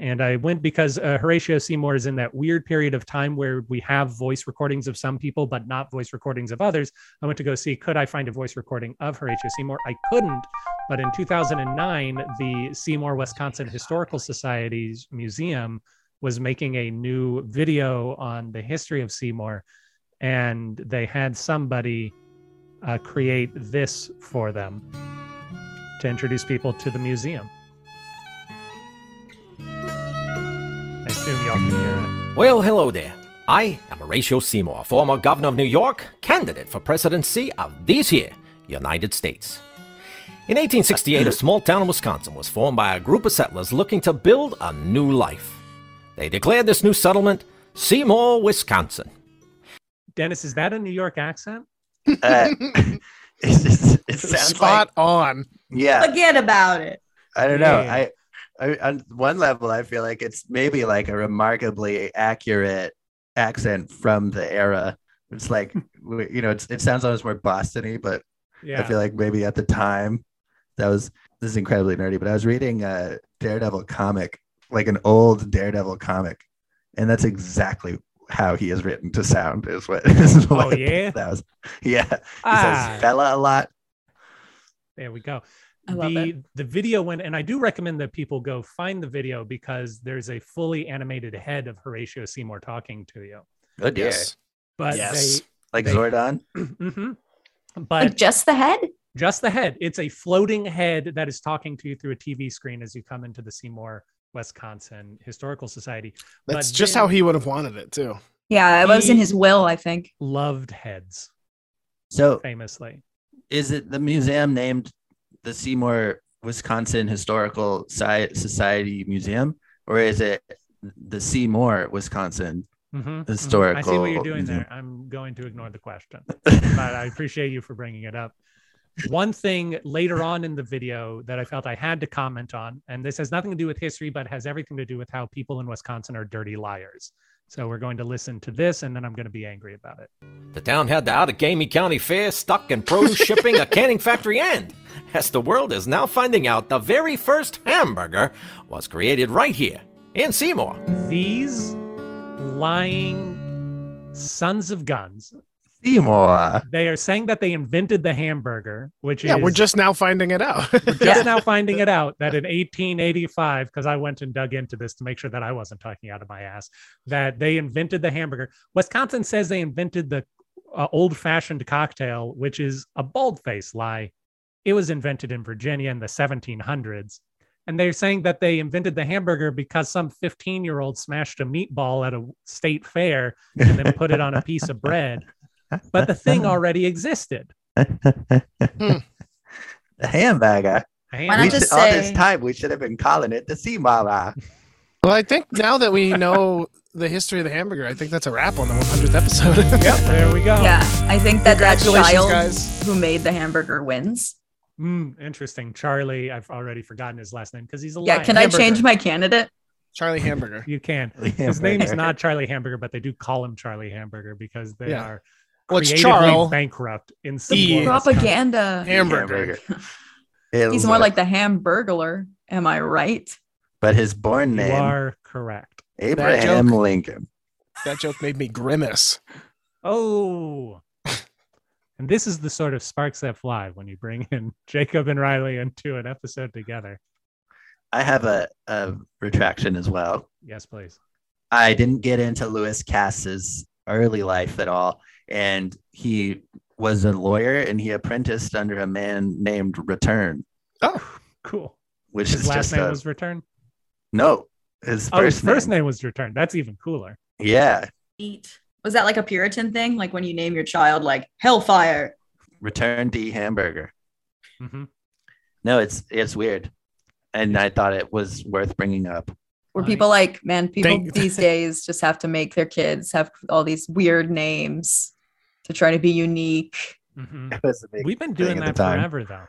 Speaker 4: and I went because uh, Horatio Seymour is in that weird period of time where we have voice recordings of some people, but not voice recordings of others. I went to go see could I find a voice recording of Horatio Seymour. I couldn't, but in 2009, the Seymour Wisconsin Historical Society's museum was making a new video on the history of Seymour, and they had somebody uh, create this for them to introduce people to the museum. I assume y'all can hear it.
Speaker 9: Well, hello there. I am Horatio Seymour, former governor of New York, candidate for presidency of these here United States. In 1868, a small town in Wisconsin was formed by a group of settlers looking to build a new life. They declared this new settlement Seymour, Wisconsin.
Speaker 4: Dennis, is that a New York accent?
Speaker 8: Uh, *laughs* it's just, it sounds
Speaker 3: Spot on.
Speaker 8: like yeah.
Speaker 7: Forget about it.
Speaker 8: I don't know.
Speaker 4: Yeah.
Speaker 8: I, I on one level, I feel like it's maybe like a remarkably accurate accent from the era. It's
Speaker 4: *laughs*
Speaker 8: like w- you know, it's, it sounds almost more Bostony, but
Speaker 4: Yeah.
Speaker 8: I feel like maybe at the time that was this is incredibly nerdy. But I was reading a Daredevil comic, like an old Daredevil comic, and that's exactly how he is written to sound. Is what? *laughs* Is
Speaker 4: Oh,
Speaker 8: what
Speaker 4: yeah?
Speaker 8: that was. Yeah, he
Speaker 4: Ah.
Speaker 8: says fella a lot.
Speaker 4: There we go.
Speaker 7: I love
Speaker 4: the
Speaker 7: it.
Speaker 4: the video went, and I do recommend that people go find the video because there's a fully animated head of Horatio Seymour talking to you.
Speaker 8: Good, yeah,
Speaker 3: Oh, Yes.
Speaker 4: But
Speaker 3: Yes.
Speaker 8: like
Speaker 4: They-
Speaker 8: Zordon.
Speaker 4: they, *clears throat* Mhm.
Speaker 7: Like
Speaker 4: but
Speaker 7: just the head?
Speaker 4: just the head. It's a floating head that is talking to you through a TV screen as you come into the Seymour, Wisconsin Historical Society. But
Speaker 3: That's just
Speaker 4: then-
Speaker 3: how he would have wanted it too.
Speaker 7: Yeah. It was in
Speaker 4: He-
Speaker 7: his will, I think.
Speaker 4: Loved heads,
Speaker 8: So
Speaker 4: famously.
Speaker 8: is it the museum named the Seymour Wisconsin Historical Sci- Society Museum, or is it the Seymour Wisconsin?
Speaker 4: Mhm, mhm. I see
Speaker 8: Historical
Speaker 4: what you're doing
Speaker 8: museum.
Speaker 4: there. I'm going to ignore the question. but I appreciate you for bringing it up. One thing later on in the video that I felt I had to comment on, and this has nothing to do with history, but has everything to do with how people in Wisconsin are dirty liars. So we're going to listen to this, and then I'm going to be angry about it.
Speaker 9: The town had the Outagamie County Fair stuck in produce shipping, a canning factory, and, as the world is now finding out, the very first hamburger was created right here in Seymour.
Speaker 4: These lying sons of guns.
Speaker 8: *laughs* Seymour.
Speaker 4: They are saying that they invented the hamburger, which
Speaker 3: Yeah,
Speaker 4: is
Speaker 3: we're just now finding it *laughs* out.
Speaker 4: just
Speaker 7: Yeah.
Speaker 4: now finding it out that in 1885, because I went and dug into this to make sure that I wasn't talking out of my ass, that they invented the hamburger. Wisconsin says they invented the uh, old fashioned cocktail, which is a bald faced lie. It was invented in Virginia in the 1700s. And they're saying that they invented the hamburger because some 15 year old smashed a meatball at a state fair and then put it on a piece of bread. But the thing already existed.
Speaker 8: the hamburger.
Speaker 7: Why not
Speaker 8: We
Speaker 7: just
Speaker 8: should, all this
Speaker 7: say-
Speaker 8: time we should have been calling it the Seymour.
Speaker 3: well, I think now that we know the history of the hamburger, I think that's a wrap on the 100th episode. *laughs*
Speaker 4: Yep, there we go.
Speaker 7: Yeah. I think that that
Speaker 3: Congratulations,
Speaker 7: child
Speaker 3: guys.
Speaker 7: who made the hamburger wins.
Speaker 4: Mm, interesting. Charlie, I've already forgotten his last name because he's a
Speaker 7: Yeah.
Speaker 4: lion.
Speaker 7: Can I change my candidate?
Speaker 3: Charlie Hamburger.
Speaker 4: You can. His name is not Charlie Hamburger, but they do call him Charlie Hamburger because they
Speaker 3: Yeah.
Speaker 4: are
Speaker 3: Well, it's
Speaker 4: creatively
Speaker 3: Charl.
Speaker 4: bankrupt in some
Speaker 3: The
Speaker 7: Propaganda.
Speaker 3: Hamburger.
Speaker 7: He's more like the hamburglar. Am I right?
Speaker 8: But his born
Speaker 4: You
Speaker 8: name,
Speaker 4: are correct.
Speaker 8: Abraham
Speaker 3: joke.
Speaker 8: Lincoln.
Speaker 3: That joke made me grimace.
Speaker 4: Oh. and this is the sort of sparks that fly when you bring in *laughs* Jacob and Riley into an episode together.
Speaker 8: I have a, a retraction as well.
Speaker 4: Yes, please.
Speaker 8: I didn't get into Lewis Cass's early life at all. And he was a lawyer and he apprenticed under a man named Return,
Speaker 3: Oh,
Speaker 4: Cool.
Speaker 8: which
Speaker 4: His
Speaker 8: is
Speaker 4: last
Speaker 8: just
Speaker 4: name
Speaker 8: a-
Speaker 4: was Return.
Speaker 8: no. His
Speaker 4: Oh, his
Speaker 8: first,
Speaker 4: first
Speaker 8: name.
Speaker 4: name was Return. That's even cooler.
Speaker 8: Yeah.
Speaker 7: Eat. Was that like a Puritan thing? Like when you name your child like Hellfire?
Speaker 8: Return D hamburger.
Speaker 4: hmm
Speaker 8: No, it's it's weird. And I thought it was worth bringing up.
Speaker 7: Were
Speaker 4: Right.
Speaker 7: people like, man, people
Speaker 3: Thank-
Speaker 7: these days just have to make their kids have all these weird names to try to be unique.
Speaker 4: hmm
Speaker 8: It was a big-
Speaker 4: We've been
Speaker 8: thing
Speaker 4: doing
Speaker 8: at the
Speaker 4: that
Speaker 8: time.
Speaker 4: forever, though.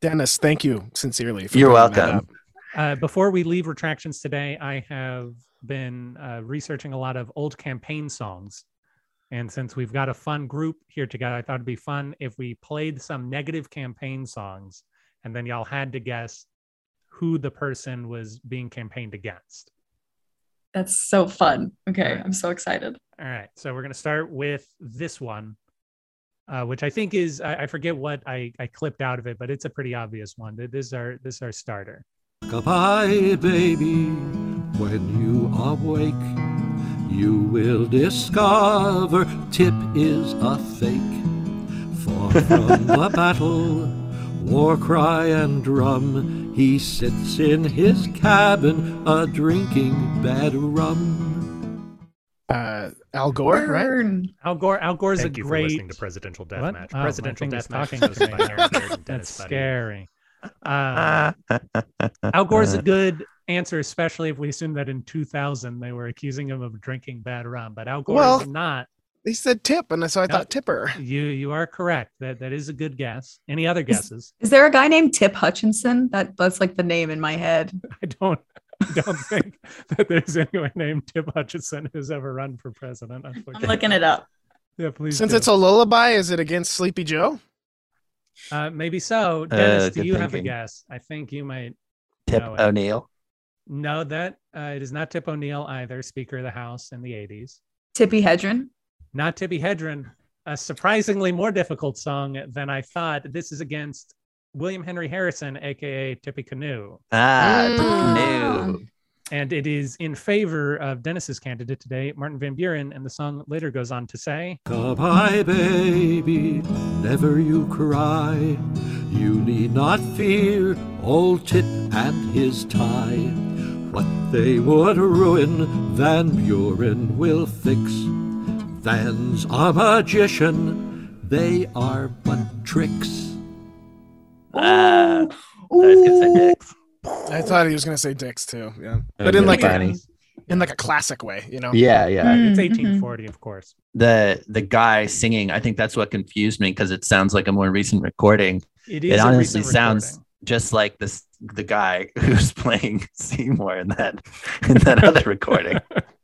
Speaker 3: Dennis, thank you sincerely. for
Speaker 8: You're
Speaker 3: bringing that
Speaker 8: welcome.
Speaker 3: up.
Speaker 4: Uh, before we leave retractions today, I have been uh, researching a lot of old campaign songs. And since we've got a fun group here together, I thought it'd be fun if we played some negative campaign songs and then y'all had to guess who the person was being campaigned against.
Speaker 7: That's so fun. Okay,
Speaker 4: Right.
Speaker 7: I'm so excited.
Speaker 4: All right. So we're going to start with this one, uh, which I think is, I, I forget what I, I clipped out of it, but it's a pretty obvious one. Th- This is our, this is our starter.
Speaker 10: Goodbye, baby. When you awake, you will discover Tip is a fake. For from the battle, war cry and drum, he sits in his cabin a drinking bad rum.
Speaker 3: Uh, Al Gore, right?
Speaker 7: Burn.
Speaker 4: Al Gore, Al Gore's
Speaker 1: Thank
Speaker 4: a
Speaker 1: you for
Speaker 4: great.
Speaker 1: listening to Presidential
Speaker 4: What?
Speaker 1: Deathmatch.
Speaker 4: Oh, my
Speaker 1: Presidential
Speaker 4: thing is
Speaker 1: Deathmatch
Speaker 4: talking
Speaker 1: is
Speaker 4: to
Speaker 1: hosted
Speaker 4: me. *laughs*
Speaker 1: by Aaron Beard and
Speaker 4: That's
Speaker 1: Dennis Buddy.
Speaker 4: scary.
Speaker 8: Ah,
Speaker 4: Uh, Al Gore's a good answer, especially if we assume that in 2000 they were accusing him of drinking bad rum. But Al Gore
Speaker 3: Well-
Speaker 4: is not.
Speaker 3: He said tip, and so I
Speaker 4: No.
Speaker 3: thought tipper.
Speaker 4: You you are correct. That that is a good guess. Any other guesses? *laughs*
Speaker 7: Is there a guy named Tip Hutchinson? That that's like the name in my head.
Speaker 4: I don't. I don't *laughs* think that there's anyone named Tip Hutchinson who's ever run for president.
Speaker 7: I'm
Speaker 4: Unfortunately.
Speaker 7: looking it up.
Speaker 4: Yeah, please.
Speaker 3: Since
Speaker 4: do.
Speaker 3: it's a lullaby, is it against Sleepy Joe?
Speaker 4: uh, maybe so. Dennis, do
Speaker 8: good
Speaker 4: you have a
Speaker 8: thinking.
Speaker 4: guess? I think you might
Speaker 8: Tip
Speaker 4: No, it-
Speaker 8: O'Neill.
Speaker 4: know that uh, it is not Tip O'Neill either, Speaker of the House in the 80s.
Speaker 7: Tippy Hedren.
Speaker 4: not Tibby Hedren, a surprisingly more difficult song than I thought. This is against William Henry Harrison, aka Tippy Canoe.
Speaker 8: Ah, Tip
Speaker 7: Mm.
Speaker 8: O'Neill.
Speaker 4: And it is in favor of Dennis's candidate today, Martin Van Buren. And the song later goes on to say,
Speaker 10: Goodbye, baby. Never you cry. You need not fear old Tip and his tie. What they would ruin, Van Buren will fix. Van's a magician. They are but tricks.
Speaker 8: Ah, that's good for dicks.
Speaker 3: I thought he was gonna say dicks too. Yeah, but in like a,
Speaker 8: funny.
Speaker 3: in like a classic way, you know.
Speaker 8: Yeah, yeah.
Speaker 7: Mm,
Speaker 4: it's
Speaker 7: mhm.
Speaker 4: 1840, of course.
Speaker 8: The the guy singing, I think that's what confused me because it sounds like a more recent recording,
Speaker 4: It
Speaker 8: It
Speaker 4: is. a
Speaker 8: honestly
Speaker 4: recent
Speaker 8: sounds-
Speaker 4: recording.
Speaker 8: just like this the guy *laughs* who's playing Seymour in that in that other recording.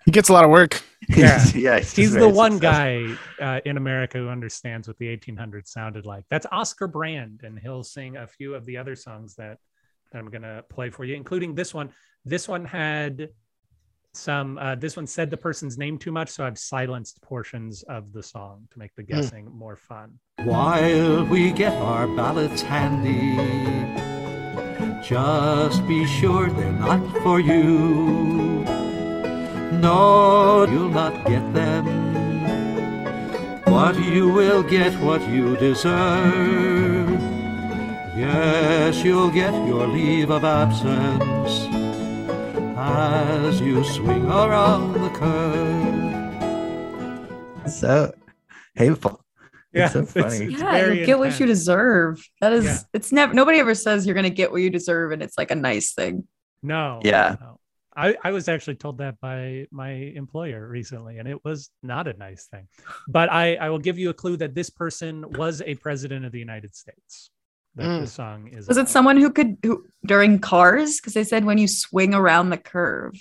Speaker 3: He gets a lot of work.
Speaker 4: *laughs* Yeah.
Speaker 8: yeah just
Speaker 4: He's the
Speaker 8: very
Speaker 4: one
Speaker 8: successful.
Speaker 4: guy uh, in America who understands what the 1800s sounded like. That's Oscar Brand, and he'll sing a few of the other songs that, that I'm going to play for you, including this one. This one had some, uh, this one said the person's name too much, so I've silenced portions of the song to
Speaker 8: Hmm.
Speaker 4: make the guessing more fun.
Speaker 10: While we get our ballots handy, just be sure they're not for you. No, you'll not get them. But you will get what you deserve. Yes, you'll get your leave of absence as you swing around the curve.
Speaker 8: So hateful.
Speaker 4: Yeah,
Speaker 8: It's so
Speaker 4: it's- *laughs*
Speaker 8: funny.
Speaker 4: it's
Speaker 7: yeah,
Speaker 4: very
Speaker 7: you get what you
Speaker 4: intense.
Speaker 7: deserve. That is,
Speaker 4: Yeah.
Speaker 7: it's never. Nobody ever says you're gonna get what you deserve, and it's like a nice thing.
Speaker 4: No.
Speaker 8: Yeah.
Speaker 4: no. I, I was actually told that by my employer recently, and it was not a nice thing. But I, I will give you a clue that this person was a president of the United States. That
Speaker 3: Mm.
Speaker 4: the song is.
Speaker 7: Hmm. Was it
Speaker 4: about.
Speaker 7: someone who could who during cars? Because they said when you swing around the curve.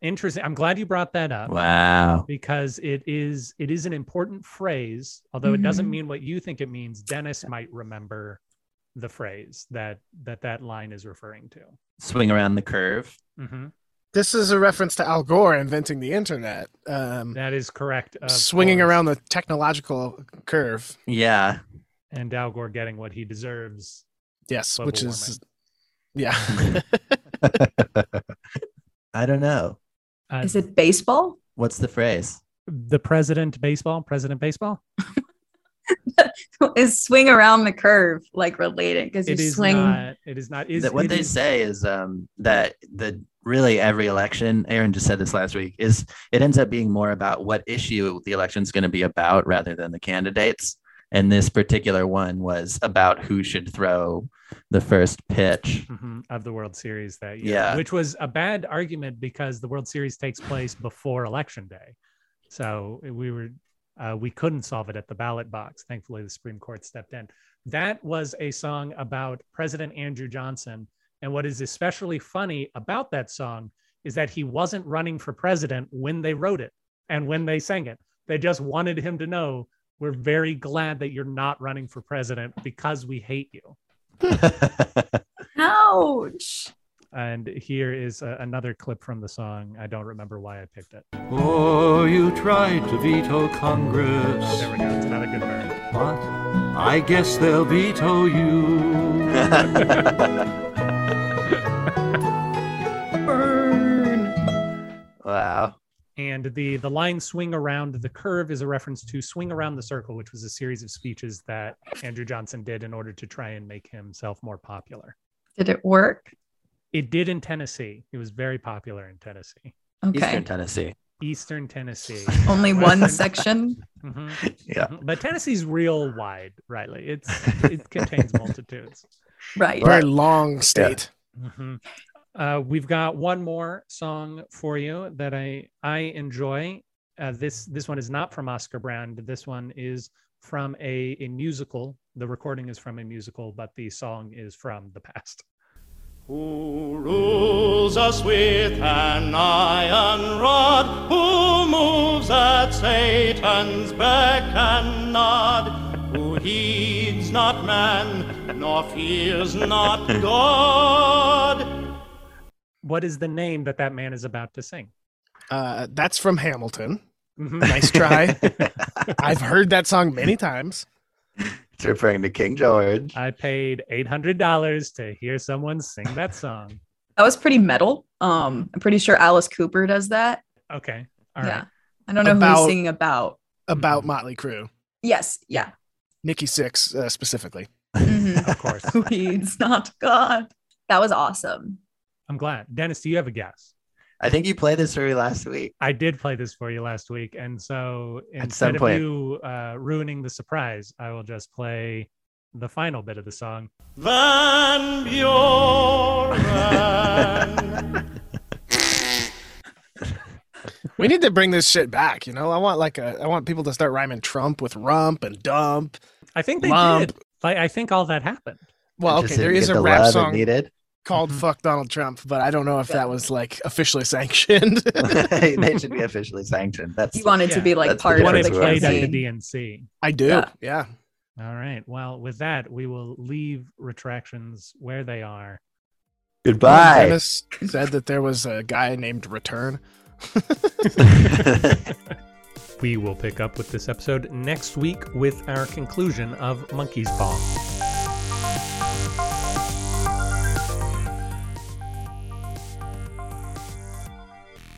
Speaker 4: Interesting. I'm glad you brought that up
Speaker 8: Wow.
Speaker 4: because it is it is an important phrase, although it
Speaker 7: Mm-hmm.
Speaker 4: doesn't mean what you think it means. Dennis might remember the phrase that that that line is referring to.
Speaker 8: Swing around the curve.
Speaker 4: Mhm.
Speaker 3: This is a reference to Al Gore inventing the internet, um,
Speaker 4: That is correct. of
Speaker 3: swinging
Speaker 4: course.
Speaker 3: around the technological curve.
Speaker 8: Yeah.
Speaker 4: and Al Gore getting what he deserves.
Speaker 3: Yes,
Speaker 4: Global
Speaker 3: which is
Speaker 4: *laughs*
Speaker 3: yeah. *laughs*
Speaker 8: I don't know.
Speaker 4: Uh,
Speaker 7: Is it baseball? *laughs*
Speaker 8: What's the phrase?
Speaker 4: the president baseball, president baseball.
Speaker 7: is swing around the curve like related because you
Speaker 4: It is
Speaker 7: swing
Speaker 4: not. It is not. Is,
Speaker 8: that what
Speaker 4: it
Speaker 8: they
Speaker 4: is-
Speaker 8: say is um, that the really every election, Aaron just said this last week, is it ends up being more about what issue the election's going to be about rather than the candidates. And this particular one was about who should throw the first
Speaker 4: *laughs*
Speaker 8: pitch.
Speaker 4: Mhm, of the World Series that year,
Speaker 8: Yeah.
Speaker 4: which was a bad argument because the World Series takes place before Election Day, so eh, we were uh, we couldn't solve it at the ballot box. Thankfully, the Supreme Court stepped in. That was a song about President Andrew Johnson, and what is especially funny about that song is that he wasn't running for president when they wrote it and when they sang it. They just wanted him to know we're very glad that you're not running for president because we hate you.
Speaker 7: ouch
Speaker 4: And here is uh, another clip from the song. I don't remember why I picked it.
Speaker 10: Oh, you tried to veto
Speaker 4: Oh, there
Speaker 10: Congress,
Speaker 4: we go. It's another good burn.
Speaker 10: but I guess they'll veto you.
Speaker 8: *laughs* wow.
Speaker 4: And the the line "swing around the curve" is a reference to "swing around the circle," which was a series of speeches that Andrew Johnson did in order to try and make himself more popular.
Speaker 7: did it work
Speaker 4: It did in Tennessee. He was very popular in Tennessee,
Speaker 7: okay
Speaker 8: Eastern Tennessee.
Speaker 4: Eastern Tennessee.
Speaker 7: only one
Speaker 4: Western-
Speaker 7: section
Speaker 4: Mhm,
Speaker 8: Yeah.
Speaker 4: mhm. But Tennessee's real wide, Riley. It's it contains multitudes.
Speaker 7: right
Speaker 3: Very long state.
Speaker 4: hmm Uh, we've got one more song for you that I I enjoy. Uh, this this one is not from Oscar Brand. This one is from a, a musical. The recording is from a musical, but the song is from the past.
Speaker 10: Who rules us with an iron rod? Who moves at Satan's beck and nod? Who heeds not man, nor
Speaker 6: *laughs*
Speaker 10: fears not God?
Speaker 4: What is the name that that man is about to sing?
Speaker 3: Uh, that's from Hamilton.
Speaker 4: Mhm. *laughs*
Speaker 3: Nice try. I've heard that song many times.
Speaker 8: It's referring to King George.
Speaker 4: I paid eight hundred dollars to hear someone sing that song.
Speaker 7: that was pretty metal um i'm pretty sure alice cooper does that
Speaker 4: Okay, all right.
Speaker 7: yeah i don't know who
Speaker 3: About-
Speaker 7: he's singing about
Speaker 4: Mm-hmm.
Speaker 3: About Motley Crue,
Speaker 7: yes yeah *laughs*
Speaker 3: Nikki Six uh, specifically.
Speaker 7: Mhm.
Speaker 3: Mm-hmm.
Speaker 4: of course.
Speaker 7: who heeds not god that was awesome
Speaker 4: I'm glad. Dennis, do you have a guess?
Speaker 8: *laughs* I think you played this for me last week.
Speaker 4: I did play this for you last week, and so
Speaker 8: At
Speaker 4: instead
Speaker 8: some
Speaker 4: of
Speaker 8: point.
Speaker 4: you uh, ruining the surprise, I will just play the final bit of the song.
Speaker 10: Van
Speaker 3: Uh,
Speaker 10: Buren.
Speaker 3: We need to bring this shit back. You know, I want like a, I want people to start rhyming Trump with rump and dump.
Speaker 4: I think they
Speaker 3: Lump.
Speaker 4: did. Like, I think all that happened.
Speaker 8: It
Speaker 3: Well, okay,
Speaker 8: *laughs* just
Speaker 3: there
Speaker 8: didn't
Speaker 3: is
Speaker 8: get the
Speaker 3: a
Speaker 8: Mm-hmm.
Speaker 3: rap
Speaker 8: love it
Speaker 3: song
Speaker 8: needed.
Speaker 3: *laughs*
Speaker 8: *laughs*
Speaker 3: called
Speaker 4: Mhm.
Speaker 3: "Fuck Donald Trump," but I don't know if
Speaker 7: Yeah.
Speaker 3: that was like officially *laughs* sanctioned.
Speaker 8: they should
Speaker 3: *laughs*
Speaker 8: be officially sanctioned. That's
Speaker 7: he wanted to
Speaker 4: Yeah,
Speaker 7: be like
Speaker 8: that's the
Speaker 7: part
Speaker 4: They
Speaker 7: of
Speaker 4: wanted
Speaker 7: the
Speaker 8: difference
Speaker 4: it played at the
Speaker 7: campaign
Speaker 4: DNC.
Speaker 3: I do.
Speaker 7: Yeah.
Speaker 3: yeah.
Speaker 4: All right. Well, with that, we will leave retractions where they are.
Speaker 8: goodbye.
Speaker 3: Dennis said that there was a guy named Return.
Speaker 8: *laughs*
Speaker 1: We will pick up with this episode next week with our conclusion of Monkey's Paw.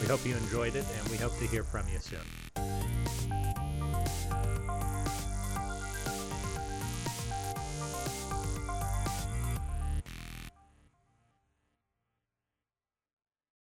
Speaker 1: We hope you enjoyed it, and we hope to hear from you soon.